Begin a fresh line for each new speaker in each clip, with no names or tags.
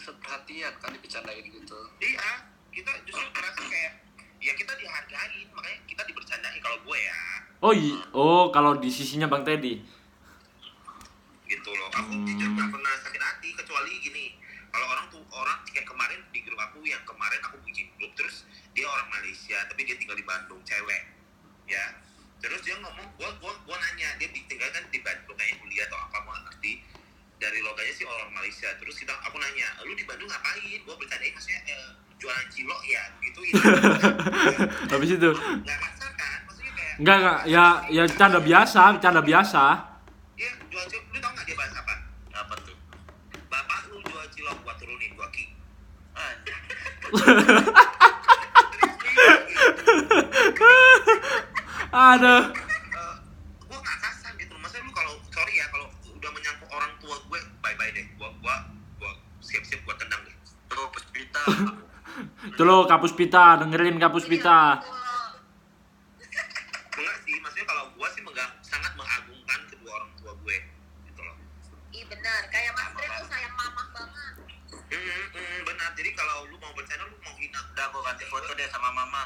perhatian kan dibicarain gitu
Iya, kita justru merasa kayak ya kita dihargain, makanya kita dibercandain kalau gue ya
Oh, i- oh kalau di sisinya Bang Teddy.
gitu loh. Aku
Hmm.
jujur gak pernah sakit hati kecuali gini. Kalau orang tuh orang kayak kemarin di grup aku yang kemarin aku bikin grup terus dia orang Malaysia tapi dia tinggal di Bandung cewek ya terus dia ngomong gua gua gua nanya dia di- tinggal kan di Bandung kayak kuliah atau apa gua nggak ngerti dari loganya sih orang Malaysia terus kita aku nanya lu di Bandung ngapain gua bercandain maksudnya eh, jualan cilok ya gitu
Habis itu
nggak kasar kan maksudnya kayak
enggak enggak ya ya canda biasa, canda biasa.
Iya, jual cilok. Lu tau gak dia bahas apa? Apa tuh? Bapak lu jual cilok, gua turunin, gua Eh, kick. Anjir. Terus dia lagi,
Aduh.
eh, gua gak kasar gitu. Maksudnya lu kalau, sorry ya, kalau udah menyangkut orang tua gue, bye-bye deh. Gua, gua, gua siap-siap gua tendang deh. Terus cerita.
Itu lo kapus pita, dengerin kapus
Iya,
pita.
Enggak sih, maksudnya kalau gua sih mengga- sangat mengagungkan kedua orang tua gue. Gitu loh.
Ih benar, kayak Mas Dre tuh sayang mamah banget.
Hmm, hmm, benar. Jadi kalau lu mau bercanda, lu mau hina. Udah, gua ganti foto deh sama mama.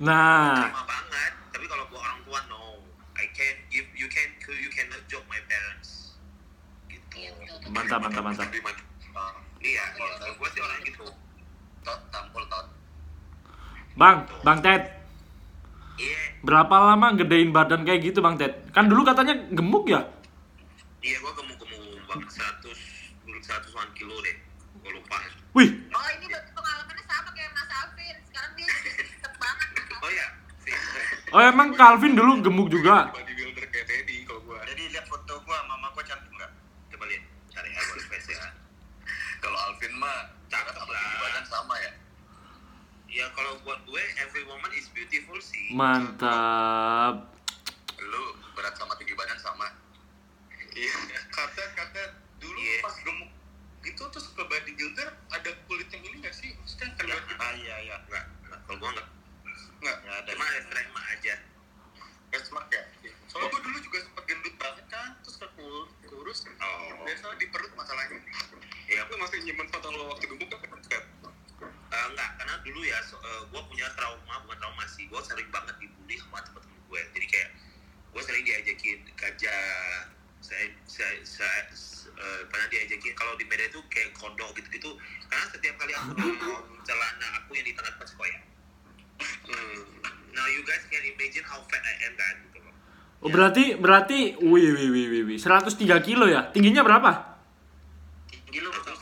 Nah,
lama banget tapi kalau gua orang tua no I can give you can you cannot joke my parents
Iya
gitu
betul.
mantap mantap mantap.
iya kalau kalau gua sih orang gitu tot tampol tot
Bang, Bang Ted,
iya
berapa lama gedein badan kayak gitu Bang Ted? Kan dulu katanya gemuk ya?
iya gua gemuk gemuk banget seratus seratus kilo deh gua lupa
Wih,
Oh ini berarti pengalamannya sama kayak Mas Alvin. Sekarang dia jadi tetep banget. Mas Alvin.
oh ya
oh emang Calvin dulu gemuk juga.
bodybuilder kayak Teddy kalau gua jadi lihat foto gua mama gua cantik nggak coba lihat cari aja gua ya. spesial
Kalau Alvin mah
Cakep
sama
lah.
tinggi badan sama ya.
ya kalau buat gue every woman is beautiful sih
Mantap.
Lu berat sama tinggi badan sama.
Iya, kata kata dulu
Iya.
pas gemuk itu terus ke bodybuilder ada kulit yang ini nggak sih? Maksudnya kan
Nggak,
berarti
ah, iya iya nggak nggak. kalau gua nggak
nggak
nggak ada cuma referensi aja Iya.
nggak smart ya? Soalnya gue dulu juga sempat gendut banget kan, terus aku kurus,
Oh.
biasa di perut masalahnya.
Iya.
Lu masih nyimpen foto lo waktu gemuk kan?
Eh, enggak, karena dulu ya so, eh, gue punya trauma, bukan trauma sih, gue sering banget dibully sama temen-temen gue. Jadi kayak gue sering diajakin gajah, saya, saya, saya s- eh, pernah diajakin kalau di Medan itu kayak kodok gitu-gitu. Karena setiap kali aku ngomong celana aku yang di tengah pas koyak. Hmm. Now you guys can imagine how fat I am kan gitu loh.
Oh, berarti berarti wih wih wih wih, wih 103 kilo ya. Tingginya berapa?
Tinggi lu berapa?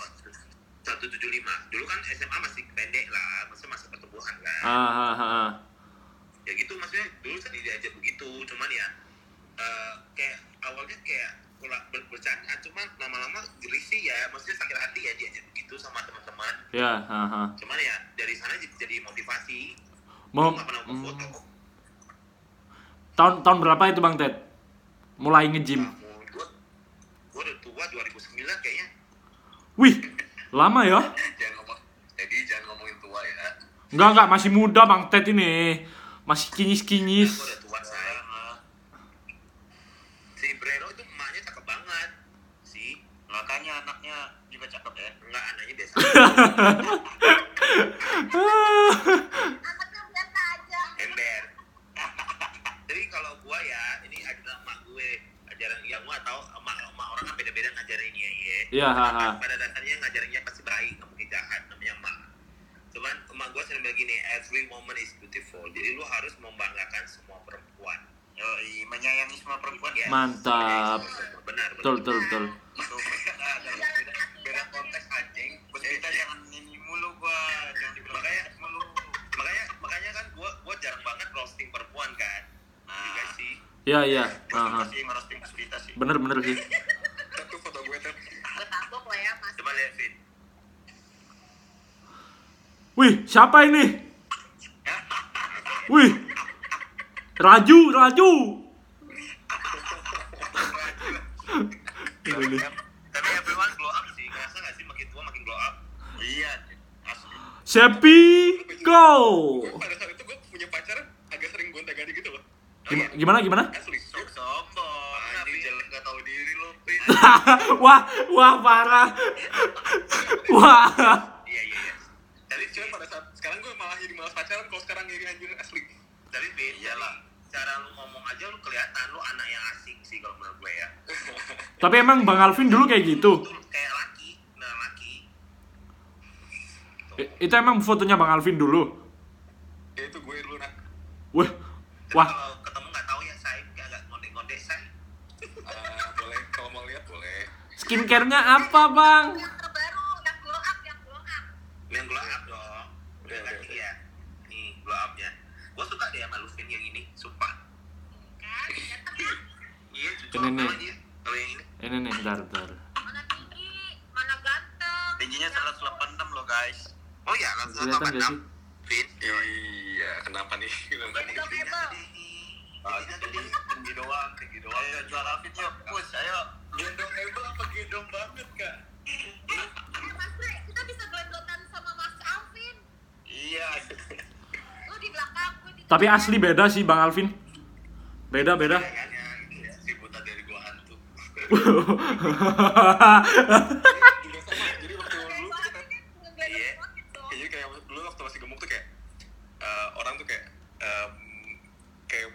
175. Dulu kan SMA masih pendek lah, masih masa pertumbuhan kan.
Ah, ah, ah, ah.
ya gitu maksudnya dulu saya diajak begitu cuman ya eh, kayak awalnya kayak pula- ber- bercanda cuman lama-lama gelisih ya maksudnya sakit hati ya diajak begitu sama teman-teman
Ya, ah, ah.
cuman ya dari sana jadi, jadi motivasi
Mau
nggak pernah mau
hmm.
foto
tahun tahun berapa itu Bang Ted? Mulai nge-gym.
Bangun. gua gua udah tua 2009 kayaknya
Wih, lama ya?
Jangan ngomong. Jadi jangan ngomongin tua ya.
Enggak enggak, masih muda Bang Ted ini. Masih
Ya,
kinyis-kinyis.
gua udah tua saya si Brero itu emaknya cakep banget si
Makanya anaknya juga cakep ya.
enggak anaknya biasa
Anaknya biasa aja.
ember jadi kalau gua ya ini adalah emak gue ajaran yang gua tahu emak emak orang kan beda-beda ngajarinnya ya
Iya, ha, ha.
pada dasarnya ngajarinnya pasti baik nggak mungkin jahat namanya emak cuman emak gua sering bilang gini every woman is beautiful jadi lu harus membanggakan semua perempuan
Yoi, menyayangi semua perempuan
ya
Mantap.
benar
Betul, betul, betul.
Itu beda, beda konteks anjing. Terus kita jangan ini mulu gua, jangan dibilang kayak mulu.
makanya makanya kan gua gua jarang banget roasting perempuan kan
Ah.
juga sih
Iya, iya. Ah, ah.
Masih ngerosting cerita sih.
Bener bener sih.
Satu foto gue tuh
Bertanggung lah ya Mas.
coba lihat Vin
Wih, siapa ini?
Ya,
Wih. Raju, Raju. Ini.
tapi everyone glow up sih ngerasa nggak sih makin tua makin glow up
Iya, asli.
Sepi go.
pada saat itu gue punya pacar agak sering gonta-ganti gitu loh.
Gim- Gimana gimana?
Asli.
Sok sombong.
Oh iya. Anjing,
Tapi
jalan
nggak tahu diri lu,
wah, wah parah. Wah.
Iya,
tapi beda
Iyalah.
cara lu ngomong aja lu kelihatan lu anak yang asik sih kalau menurut gue ya
Tapi emang Bang Alvin dulu kayak gitu.
Betul, kayak laki nah laki
I- Itu emang fotonya Bang Alvin dulu.
Ya itu gue dulu nak.
Wah,
Tapi
wah,
kalau ketemu nggak tahu ya saya nggak nggak ngondek-ngondek saya
Ah, boleh kalau mau lihat boleh.
skincare-nya apa, Bang?
Yang terbaru, yang glow up, yang glow up.
yang glow up dong udah
Udah,
ganti
udah.
ya nih glow upnya gue suka deh sama Lufin yang ini sumpah
Kan, datang ya.
iya cocok
Ini nih.
sama dia kalau yang ini
Ini nih, bentar, bentar.
Mana tinggi, mana ganteng.
Tingginya 186 loh guys.
oh ya langsung
Kelihatan gak sih?
Vin
Iya, kenapa nih? Kenapa nih?
Gak
Vin
able.
ada nih
Bagus tinggi, tinggi doang, tinggi doang.
Iya,
Ayo jual Afin yuk, push, ayo.
Gendong hebel apa gendong banget kak?
Eh, Mas Bre, kita bisa gelendotan sama Mas Alvin.
Iya.
Lu di belakang, gue di
Tapi
depan.
asli beda sih Bang Alvin. Beda, beda.
kan ya ini ya, si buta dari gua hantu
Juga sama. Jadi waktu
Kayak
dulu
gua Alvin
kita
kan ngegelendot
Iya.
banget dong.
kayaknya kayak dulu waktu masih gemuk tuh kayak eh, orang tuh kayak em, kayak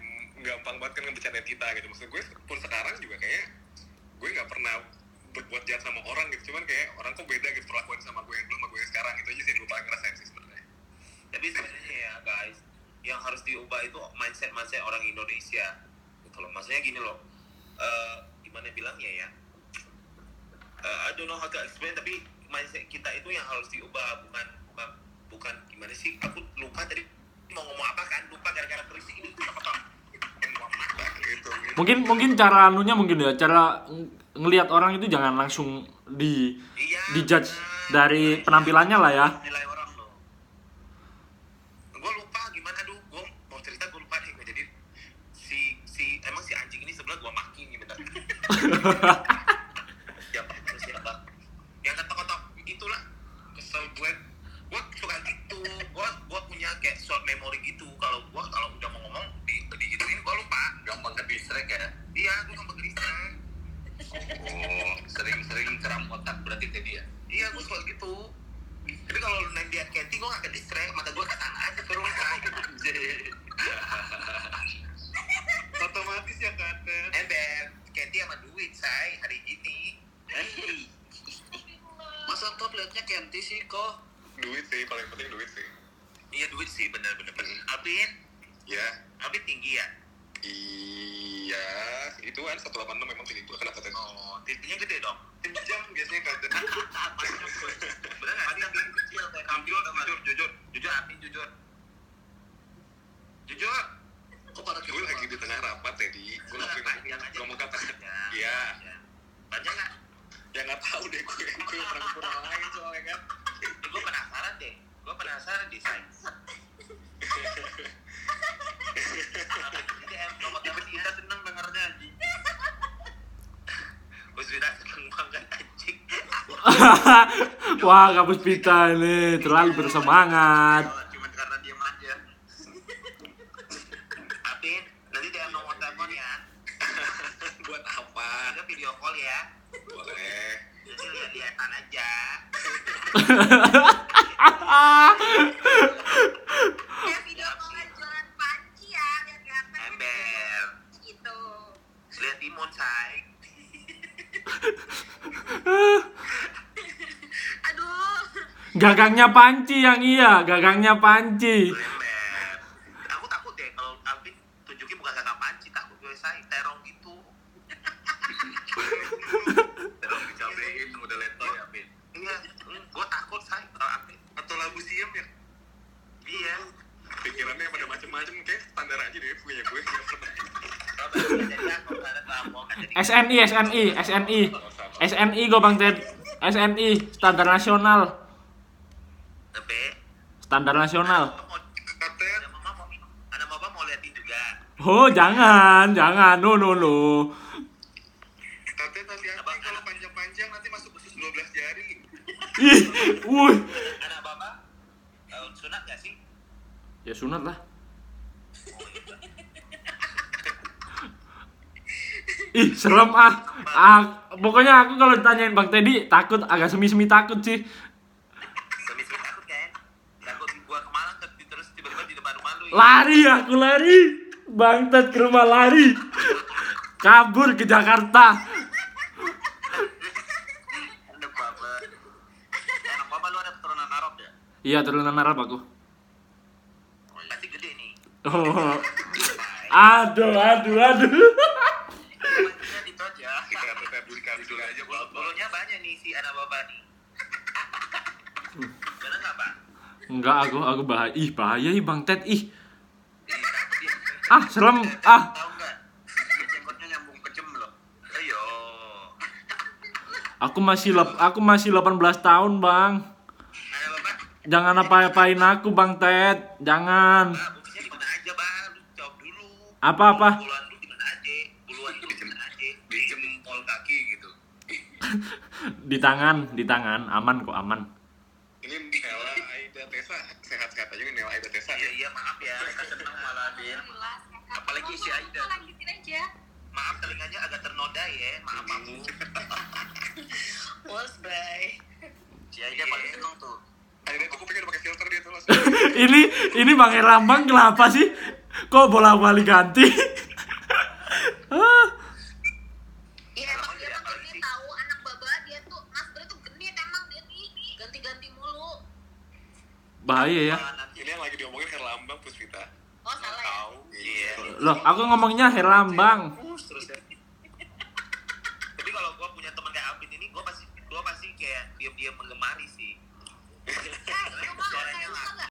gampang banget kan ngebecandain kita gitu maksud gue pun sekarang juga kayak gue nggak pernah berbuat jahat sama orang gitu cuman kayak orang kok beda gitu perlakuan sama gue yang dulu sama gue yang sekarang itu aja sih yang gue paling ngerasain sih sebenarnya
tapi sebenarnya ya guys yang harus diubah itu mindset mindset orang Indonesia kalau maksudnya gini loh eh, gimana bilangnya ya Eh, I don't know how to explain tapi mindset kita itu yang harus diubah bukan bukan bukan gimana sih aku lupa tadi mau ngomong apa kan lupa gara-gara berisik ini apa tau
gitu, gitu.
Mungkin mungkin cara anunya mungkin ya, cara ng- ngelihat orang itu jangan langsung di
iya
dijudge
benar.
dari penampilannya lah ya.
Nilai orang loh.
gue lupa gimana aduh gue mau cerita gue lupa deh jadi si si emang si anjing ini sebelah gue maki nih bentar siapa terus siapa yang ketok-ketok itulah kesel gue gue suka gitu gue gue punya kayak short memory gitu kalau gue kalau udah mau ngomong di di gituin gue lupa
Gampang ke distract ya.
iya gue nggak berisik
Oh,
Hmm,
sering-sering keram otak berarti ke dia.
iya gue suka gitu tapi kalau lu nanya dia Kathy gue gak ke distract mata gue ke sana aja terus
otomatis ya kata
ember Kathy sama duit say hari ini
Masa kau liatnya Kenti sih kok?
duit sih paling penting duit sih
Iya duit sih bener-bener. Abin,
ya
Abin tinggi ya?
iya itu kan 186 memang tinggi gue kenapa tadi
Oh, tingginya gede dong.
tinggi jam biasanya kata
gitu. Bener nggak sih Abin kecil kayak kambing? Jujur, jujur, jujur Abin jujur. Jujur.
Kok pada gue lagi di tengah rapat tadi gue langsung
Panjang aja.
ngomong kata
Panjang.
iya
Panjang nggak?
ya nggak tahu deh gue gue orang kurang lain soalnya kan
Gue penasaran deh. Gue penasaran deh say. Nomor tapi kita seneng dengarnya anjing. Gue sudah seneng banget anjing.
Wah, kapus pita ini terlalu bersemangat.
Cuman karena dia aja. Apin, nanti DM nomor telepon ya.
buat apa
Ada video call ya.
boleh
Jadi lihat-lihatan aja.
Ah,
Kayak video call jualan panci ya, biar ganteng.
Ember.
Gitu.
Lihat timun, say.
Aduh,
gagangnya panci yang iya, gagangnya panci.
Ember. Aku takut deh kalau Alvin tunjukin bukan kata panci, takut gue say. Terong gitu. Terong dicabein, udah leto ya, Alvin. Iya, gue takut, say. Kalau Alvin.
atau lagu siem ya
Iya.
pikirannya pada macem-macem kayak standar aja deh punya gue nggak pernah
Kalau jadi aku, ada kelamongan. Jadi
SNI, SNI, SNI. SNI gue Bang Ted. SNI, standar nasional.
Tapi,
Standar nasional.
aku mau-
kata
ada mama mau ada mama mau liatin juga.
Oh, jangan, jangan. No, no, no.
kata tapi apa kalau panjang-panjang nanti masuk usus 12 jari
Ih, wuih.
Anak bapak eh, sunat gak sih?
Ya sunat lah. Ih, serem ah. ah. Pokoknya aku kalau ditanyain Bang Teddy takut agak semi-semi takut sih.
ya? Tapi sih takut kan? Takut gua ke Malang tapi terus tiba-tiba di depan rumah lu
Lari aku lari. Bangtat ke rumah lari. Kabur ke Jakarta.
Enak banget. Anak papa lu ada keturunan Arab ya?
Iya turunan Arab aku.
iya.
Pasti gede nih.
Oh. Aduh, aduh, aduh.
Cuman Eh, itu aja.
Kita kata dulu kali dulu aja bapak.
Bulunya banyak nih si anak papa nih. Bener nggak pak?
Enggak, aku aku bahaya. Ih, bahaya ih Bang Ted. Ih. Ah, serem. Ah,
Tahu nggak? Jenggotnya nyambung ke loh. Ayo.
aku masih lep, aku masih 18 tahun, Bang.
Anak papa.
Jangan apa-apain aku, Bang Ted. Jangan.
Nah, buktinya di mana aja bang? Lu jawab dulu.
Apa-apa?
Puluhan lu di mana aja? Puluhan lu di mana aja? Di jempol kaki gitu.
Di tangan, di tangan. Aman kok, aman.
Ini Nela Aida Tesa sehat-sehat aja nih Nela Aida Tesa.
Iya iya maaf ya. Kita seneng malah Din.
Jelas, kakak.
Apalagi si
Ngomong
Aida.
apa, Lanjutin aja.
Maaf telinganya agak ternodai ya. Maaf aku.
Was bye.
Si Aida Iya, paling seneng tuh.
Aida tuh kupingnya udah pakai filter dia tuh langsung.
ini ini Bang Herlambang kenapa sih? Kok bolak-balik ganti? Ah,
Iya emang dia emang dia tahu anak baba dia tuh Mas Bro tuh genit emang dia nih ganti-ganti mulu.
Iya.
bahaya ya.
Ini yang lagi diomongin Herlambang Puspita.
Oh salah ya.
Tahu. Iya.
Loh, aku ngomongnya Herlambang.
Terus terus ya. Tapi kalau gua punya teman kayak Apin ini, gua pasti gua pasti kayak diam-diam menggemari sih.
Eh, lu mah nggak usah